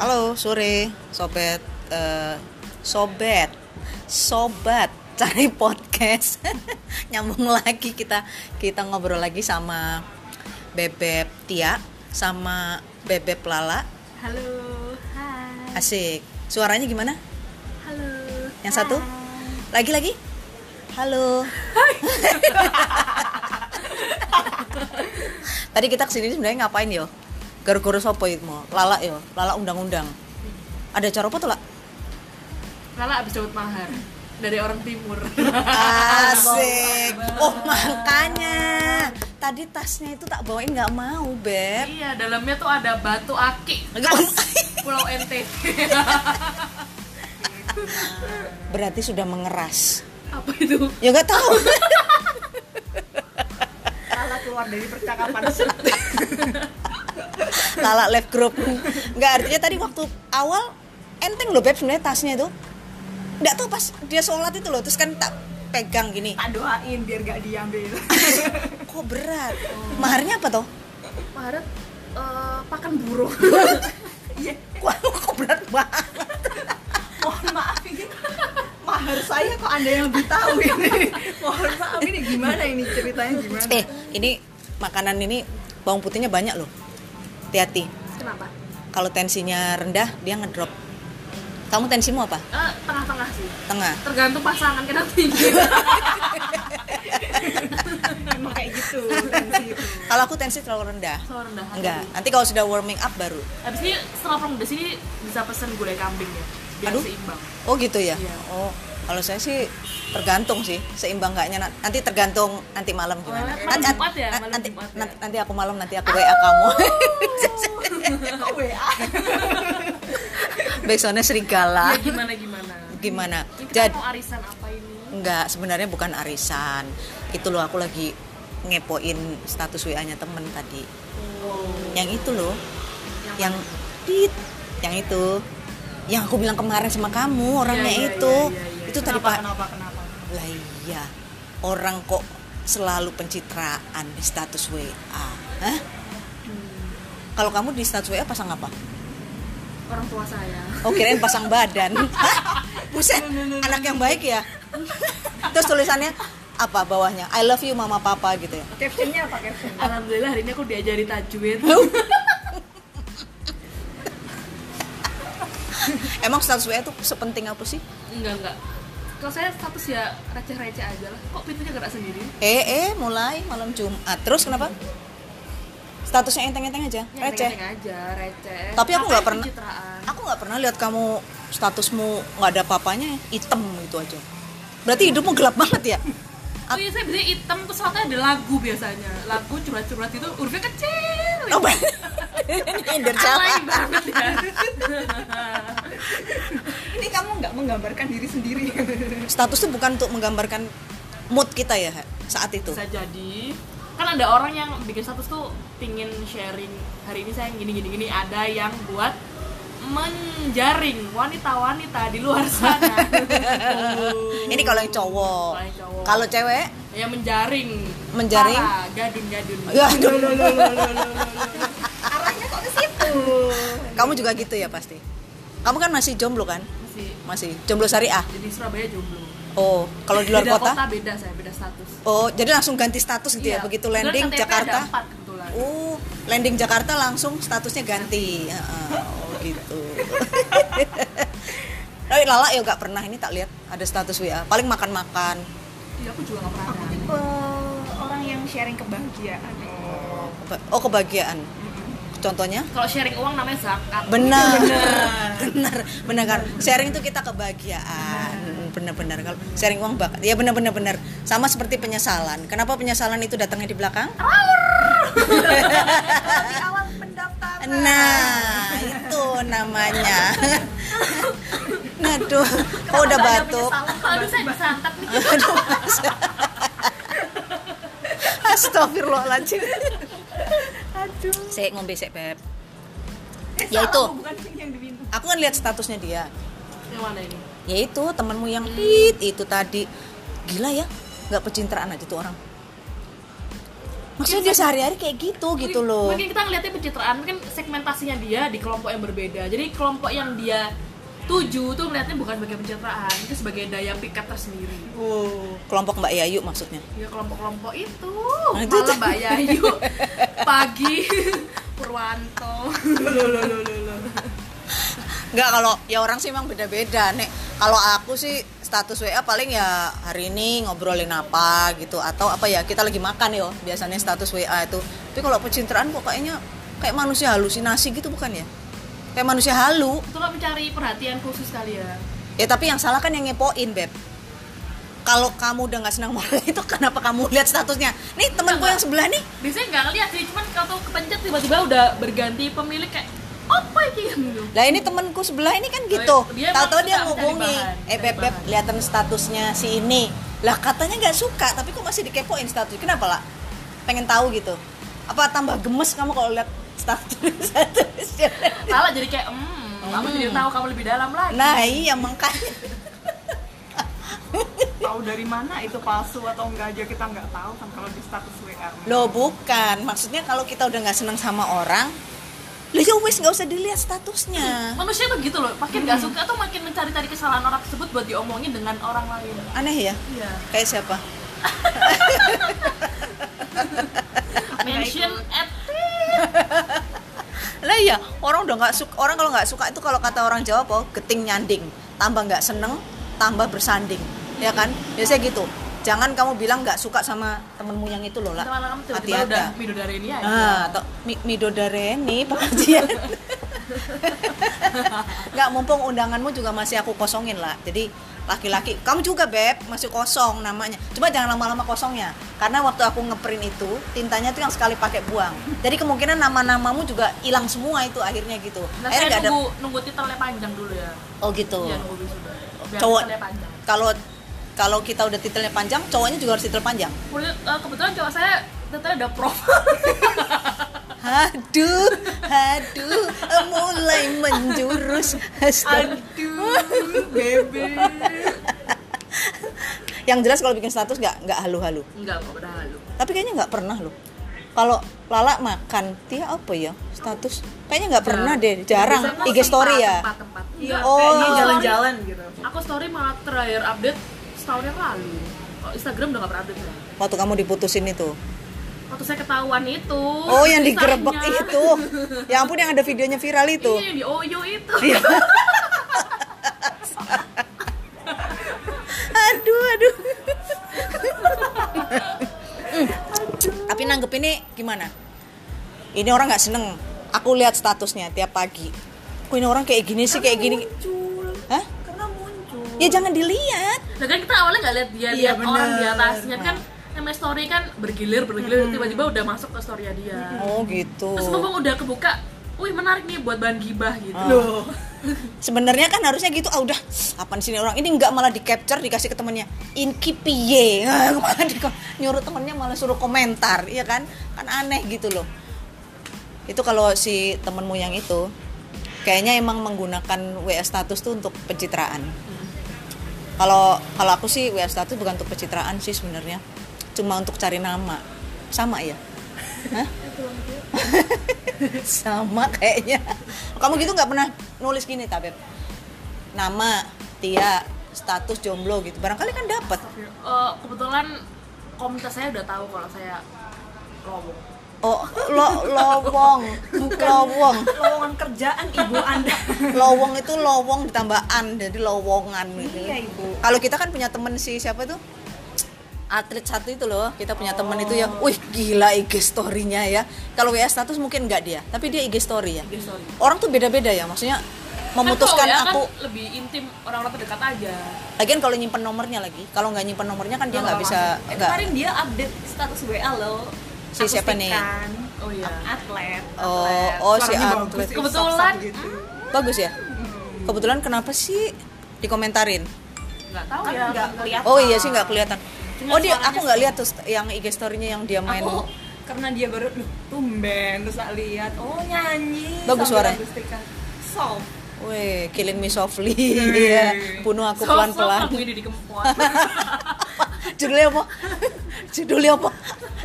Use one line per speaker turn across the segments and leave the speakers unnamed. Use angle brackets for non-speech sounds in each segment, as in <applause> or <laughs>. Halo, sore, sobat, eh, sobet, sobat cari podcast. <laughs> Nyambung lagi kita kita ngobrol lagi sama Bebep Tia sama Bebep Lala.
Halo, hai.
Asik. Suaranya gimana?
Halo.
Yang satu? Lagi-lagi? Halo. <laughs> Tadi kita kesini sebenarnya ngapain yo? Gara-gara sopo itu mau? Lala yo, lala undang-undang. Ada cara apa tuh lah?
Lala abis dapat mahar dari orang <laughs> timur.
Asik. Oh makanya tadi tasnya itu tak bawain nggak mau beb. Oh,
iya, dalamnya tuh ada batu akik Pulau NTT.
<laughs> Berarti sudah mengeras.
Apa itu?
Ya nggak tahu.
Lala keluar dari percakapan
<laughs> Lala lab group. Nggak artinya tadi waktu awal enteng loh beb sebenarnya tasnya itu. Nggak tahu pas dia sholat itu loh terus kan tak pegang gini.
tak doain biar gak diambil
Kok berat? Maharnya apa toh?
Maharat eh, pakan
<laughs>
burung.
Iya,
Wah, kok berat banget.
mohon maaf ini mahar saya kok anda yang lebih tahu <laughs> ini mohon maaf ini gimana ini ceritanya gimana
Eh, ini makanan ini bawang putihnya banyak loh. Hati-hati.
Kenapa?
kalau tensinya rendah dia ngedrop kamu tensimu apa
Eh, tengah-tengah sih.
tengah
Tergantung pasangan kadang tinggi.
emang kayak gitu tensi itu.
kalau aku tensi terlalu rendah
<laughs> Soal rendah hati.
enggak nanti kalau sudah warming up baru
Abis ini setelah perang di sini bisa pesen gulai kambing ya. Biar
Aduh.
seimbang.
oh gitu ya
Iya.
oh kalau saya sih tergantung sih seimbang enggaknya Na- nanti tergantung nanti malam gimana
malam
nanti,
Jumat ya? Malam
nanti,
Jumat ya? Oh.
nanti nanti aku malam nanti aku WA kamu <laughs>
kok WA
besoknya serigala
Ya gimana gimana.
gimana
Ini kita
jadi
mau arisan apa ini?
Enggak, sebenarnya bukan arisan. Itu loh aku lagi ngepoin status WA-nya temen tadi. Yang itu loh. Yang, tit, yang itu. Yang aku bilang kemarin sama kamu, orangnya
iya,
itu.
iya, iya, iya.
Itu tadi
kenapa
Pak.
kenapa kenapa
Lah iya. Orang kok selalu pencitraan di status WA. Hah?
Hmm.
Kalau kamu di status WA pasang apa?
Orang tua saya.
Oh kirain pasang badan. Hah? Buset, anak yang baik ya. Terus tulisannya apa bawahnya? I love you mama papa gitu ya.
captionnya apa caption
<laughs> Alhamdulillah hari ini aku diajari tajwid.
Emang status WA itu sepenting apa sih?
enggak enggak kalau saya status ya receh-receh aja lah kok pintunya gerak sendiri
Eh eh mulai malam Jumat. Terus kenapa? Statusnya enteng-enteng aja,
Ya,
receh.
enteng-enteng aja receh
Tapi aku nggak
Ngapain
pernah-
pencitraan?
Aku nggak pernah lihat kamu statusmu nggak ada papanya, hitam gitu aja. Berarti hidupmu gelap banget ya?
Oh iya, saya biasanya hitam terus latarnya ada lagu biasanya lagu curhat-curhat itu hurufnya kecil
Oh, <laughs> bener. Nyindir
alay
siapa?
banget ya
ini kamu nggak menggambarkan diri sendiri
Status itu bukan untuk menggambarkan mood kita ya Ha, saat itu.
bisa jadi kan ada orang yang bikin status tuh pingin sharing hari ini saya gini gini gini ada yang buat menjaring wanita-wanita di luar sana
<laughs> Ini kalau yang cowok.
Kalau yang cowok.
Kalau cewek,
yang menjaring
Menjaring?
para gadun-gadun
ya aduh,
arahnya kok ke situ
kamu juga gitu ya pasti. Kamu kan masih jomblo kan?
Masih
Masih jomblo syariah.
jadi Surabaya jomblo
Oh, kalau di luar
beda
kota?
beda saya beda status
Oh, jadi langsung ganti status gitu ya
Iya,
begitu
kebetulan
landing
KTP ada
Jakarta.
empat kebetulan.
Oh, landing Jakarta langsung statusnya ganti. Heeh, oh gitu. Tapi Lala ya gak pernah ini tak lihat ada status WA. Paling makan-makan.
iya aku juga nggak pernah
aku
ada.
tipe Eh, orang yang sharing kebahagiaan
Keba- Oh, kebahagiaan. Contohnya?
kalau sharing uang namanya zakat
benar benar benar kan sharing itu kita kebahagiaan benar-benar kalau sharing uang bakat ya benar-benar benar sama seperti penyesalan kenapa penyesalan itu datangnya di belakang
di awal pendaftaran
nah itu namanya nah tuh kok udah
Ada
batuk
penyesalan,
aduh saya disantet nih
Aduh, Mas. Astagfirullahaladzim
aduh
Sik ngombe sik Beb
Eh,
Ya,
salah,
itu.
bukan yang diminum
Aku kan lihat statusnya dia
yang mana ini
yaitu temanmu yang tit itu tadi gila ya nggak pencitraan aja tuh orang maksudnya dia sehari-hari kayak gitu gitu
Mungkin-
loh
Mungkin kita ngeliatnya pencitraan, mungkin segmentasinya dia di kelompok yang berbeda. Jadi kelompok yang dia tuju tuh melihatnya bukan sebagai pencitraan, itu sebagai daya pikat tersendiri.
kelompok Mbak Yayu maksudnya
Ya kelompok-kelompok itu,
Nah, itu
malam
tuh.
Mbak Yayu, pagi <laughs> Purwanto.
Enggak kalau ya orang sih emang beda-beda nek. Kalau aku sih status WA paling ya hari ini ngobrolin apa gitu atau apa ya kita lagi makan yo biasanya status WA itu. Tapi kalau pencitraan kok kayaknya kayak manusia halusinasi gitu bukan ya? Kayak manusia halu.
Itu kan mencari perhatian khusus kali ya.
Ya tapi yang salah kan yang ngepoin, Beb. Kalau kamu udah nggak senang sama orang itu kenapa kamu lihat statusnya? Nih temanku yang sebelah nih
Biasanya nggak ngeliat sih, cuman kalau kepencet tiba-tiba udah berganti pemilik kayak apa ini <laughs> gitu.
Lah ini temenku sebelah ini kan gitu.
Oh, dia emang
Tahu-tahu dia
suka mencari
ngubungi, "Eh
bahan, mencari
Beb, Beb,
bahan."
kelihatan statusnya si ini." Lah katanya nggak suka, tapi kok masih dikepoin status. Kenapa, lah? Pengen tahu gitu. Apa tambah gemes kamu kalau lihat status <laughs> statusnya?
Salah jadi kayak, hmm, kamu jadi tahu kamu lebih dalam lagi.
Nah, iya makanya.
tahu dari mana itu palsu atau enggak aja kita nggak tahu kan kalau di status WA
Loh, bukan. Maksudnya kalau kita udah nggak senang sama orang, lu ya wis nggak usah dilihat statusnya.
manusia tuh gitu loh makin nggak suka tuh makin mencari-cari kesalahan orang tersebut buat diomongin dengan orang lain
Aneh ya?
iya
Kayak siapa?
mention at
lah iya orang udah nggak suka orang kalau nggak suka itu kalau kata orang Jawa apa geting nyanding tambah nggak seneng tambah bersanding ya kan biasanya gitu jangan kamu bilang nggak suka sama temenmu yang itu loh lah
teman kamu tiba-tiba
hati-hati
udah midodare ini aja
ah atau Mi- midodareni pengajian <laughs> nggak mumpung undanganmu juga masih aku kosongin lah jadi laki-laki kamu juga beb masih kosong namanya coba jangan lama-lama kosongnya karena waktu aku ngeprint itu tintanya tuh yang sekali pakai buang jadi kemungkinan nama-namamu juga hilang semua itu akhirnya gitu
nah,
akhirnya
saya
nggak ada
nunggu nunggu titelnya panjang dulu ya
oh gitu
Iya, nunggu wisuda biar
Cowok.
titelnya panjang
kalau kalau kita udah titelnya panjang cowoknya juga harus titel panjang
Kemudian, eh, kebetulan cowok saya titelnya udah pro
Aduh, aduh, mulai menjurus. Astaga.
aduh bebe
Yang jelas kalau bikin status nggak nggak halu-halu.
<laughs> enggak kok udah halu
Tapi kayaknya nggak pernah loh. Kalau Lala makan, dia apa ya status? Kayaknya nggak pernah deh, jarang.
Biasanya
IG story
Iya. tempat,
ya.
tempat, tempat.
iya
Enggak,
Oh.
kayak dia
story.
jalan-jalan gitu
aku story malah terakhir update setahun yang lalu kalau Instagram udah gak pernah update ya
Waktu kamu diputusin itu.
waktu saya ketahuan itu
Oh, yang digerebek
kisahnya.
itu. Ya ampun yang ada videonya viral itu.
Iya yang di Oyo itu.
aduh, aduh. Hmm. Tapi nanggep ini gimana? Ini orang nggak seneng. Aku lihat statusnya tiap pagi. Kok ini orang kayak gini sih, kayak gini.
muncul
Hah?
karena muncul
Ya jangan dilihat.
Nah kan kita awalnya nggak lihat dia,
Iya,
lihat
bener.
orang di atasnya kan namanya story kan bergilir bergilir tiba-tiba udah masuk ke storynya dia.
Oh gitu.
Terus mumpung udah kebuka, wih menarik nih buat bahan gibah gitu.
loh
Sebenarnya kan harusnya gitu. Ah udah, apaan sini orang ini nggak malah di capture dikasih ke temennya. Inki piye? <laughs> Ah, malah di- Nyuruh temennya malah suruh komentar, iya kan? Kan aneh gitu loh. Itu kalau si temenmu yang itu, kayaknya emang menggunakan WA status tuh untuk pencitraan. Kalau kalau aku sih WA status bukan untuk pencitraan sih sebenarnya, cuma untuk cari nama. Sama ya? Hah? sama kayaknya kamu gitu nggak pernah nulis gini tabeb nama Tia status jomblo gitu barangkali kan dapat
Eh, kebetulan komunitas saya udah tahu kalau saya lowong.
oh lo lowong lowong
lowongan kerjaan ibu anda
lowong itu lowong ditambah an jadi lowongan gitu
Iya, Ibu.
kalau kita kan punya temen si siapa tuh atlet satu itu loh kita punya
Oh.
temen itu yang wih gila IG story-nya ya kalau WA status mungkin nggak dia tapi dia IG story ya
Dia story.
orang tuh beda-beda ya maksudnya memutuskan
kan kalau ya
aku
kan lebih intim orang-orang terdekat aja.
Lagian kalau nyimpen nomornya lagi, kalau nggak nyimpen nomornya kan dia nggak
Nggak
bisa
Eh,
nggak.
kemarin <laughs> dia update status WA loh
Si siapa nih?
Akustikan.
Oh iya.
atlet
Oh,
atlet.
oh, si
Suaranya
atlet.
bagus,
Kebetulan,
sop-sop gitu.
Bagus ya. Kebetulan kenapa sih dikomentarin?
Nggak tahu
Kan
ya.
nggak kelihatan.
Oh iya sih nggak kelihatan.
Cuma
Oh dia
suaranya
aku nggak lihat tuh st- yang IG story-nya yang dia main.
aku Oh, karena dia baru "Loh, tumben terus tak lihat oh nyanyi
Bagus
sambil
suaranya.
akustikan. soft
Weh, killing me softly. <laughs> Iya, bunuh aku
Sosok
pelan-pelan. <laughs>
aku ini dikempot.
<laughs> Judulnya apa? <laughs> Judulnya apa?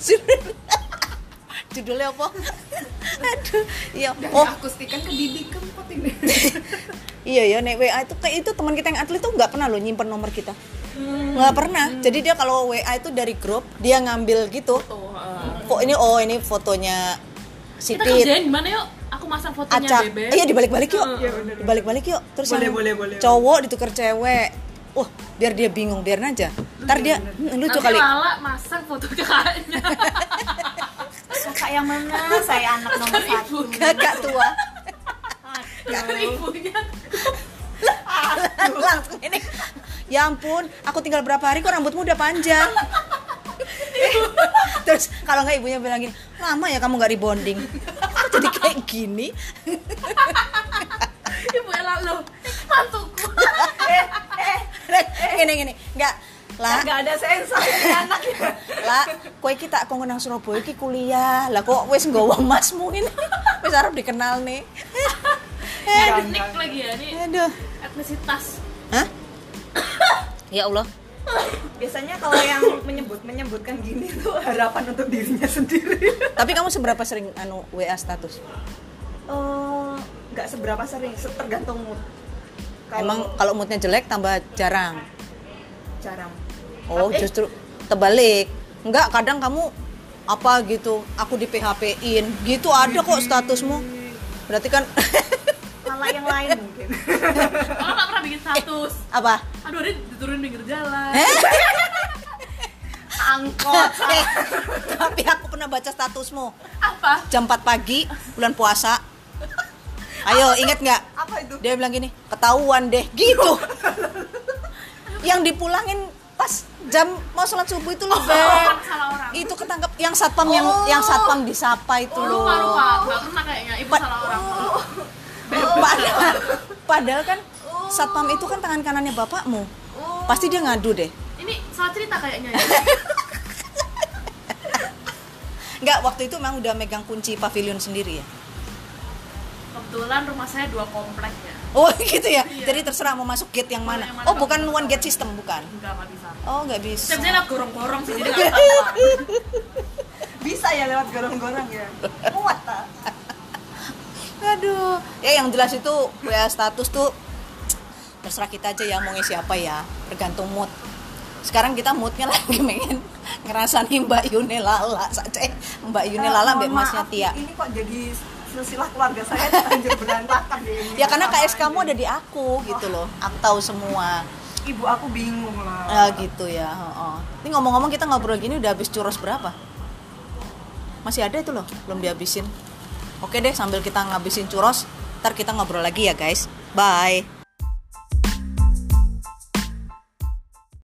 Judul- judulnya apa <laughs> aduh iya
Dari
oh
Eh, akustikan ke Didi Kempot
<laughs>
ini.
iya ya nek WA itu kayak itu teman kita yang atlet tuh nggak pernah loh nyimpen nomor kita nggak pernah
Hmm.
jadi dia kalau WA itu dari grup dia ngambil
Oh.
gitu
Tuh, eh.
kok ini oh ini fotonya si
kita
Pit
kerjain gimana yuk aku masang fotonya
acak
bebe
iya dibalik-balik yuk
Heeh.
balik-balik yuk terus
Boleh,
yang
boleh, boleh.
cowok ditukar cewek wah biar dia bingung biar aja ntar dia "Hmm, lucu
Nanti
kali
Lala masang foto kakaknya
<laughs> Suka yang mana? Saya anak nomor satu. Ya.
ibu
<laughs> kakak tua
kan ibunya
langsung Kan ini ya ampun aku tinggal berapa hari kok rambutmu udah <laughs> panjang terus kalau nggak ibunya bilang gini lama ya kamu nggak rebonding Kok jadi kayak gini
ibunya lalu mantuku
<laughs> gini gini nggak lah
Gak ada sensor ini anak ya.
lah kowe iki tak kongkon nang Surabaya iki kuliah lah kok wis nggawa masmu ini wis arep dikenal nih
ya di nick lagi ya ini
aduh
etnisitas
hah ya Allah
Biasanya kalau yang menyebut menyebutkan gini tuh harapan untuk dirinya sendiri.
<laughs> tapi kamu seberapa sering anu WA status
Eh, nggak seberapa sering, se- tergantung mood. Kalau
emang kalau moodnya jelek tambah jarang
jarang.
oh justru terbalik enggak kadang kamu apa gitu aku di PHP in gitu ada kok statusmu berarti kan <laughs>
Malah yang lain mungkin.
kalau nggak pernah bikin status
apa
aduh dia diturun pinggir jalan
Angkot.
Eh, tapi aku pernah baca statusmu
apa
jam 4 pagi bulan puasa ayo inget nggak
Apa itu?
dia bilang gini ketahuan deh gitu yang dipulangin pas jam mau sholat subuh itu loh Beb.
Oh, salah orang Oh.
itu ketangkep yang satpam yang yang satpam disapa itu loh
lupa lupa nggak pernah kayaknya ibu
Pat-
salah orang
Oh, padahal, padahal kan satpam itu kan tangan kanannya bapakmu
Oh.
pasti dia ngadu deh
ini salah cerita kayaknya ya.
nggak waktu itu emang udah megang kunci pavilion sendiri ya
kebetulan rumah saya dua komplek ya
oh <laughs> gitu ya jadi terserah mau masuk gate yang mana
Iya. Yang mana
oh bukan one gate system bukan
enggak nggak bisa
oh nggak bisa
Siap-siap lewat gorong-gorong sih, jadi nggak apa-apa
Bisa ya lewat gorong-gorong ya. Muat tak?
aduh ya yang jelas itu WA status tuh terserah kita aja ya mau ngisi apa ya tergantung mood sekarang kita moodnya <laughs> lagi pengen ngerasain Mbak Yune Lala saja Mbak Yune Lala Mbak
Eh, mohon
Masnya
maaf,
Tia
Ini kok jadi silsilah keluarga saya hancur
<laughs>
berantakan deh ini.
ya karena
Apa
KS
ini?
kamu ada di aku gitu loh aku tahu semua
Ibu aku bingung
Ya,
lah.
gitu ya heeh. ini ngomong-ngomong kita ngobrol gini udah habis curos berapa masih ada itu loh belum dihabisin oke deh sambil kita ngabisin curos ntar kita ngobrol lagi ya guys bye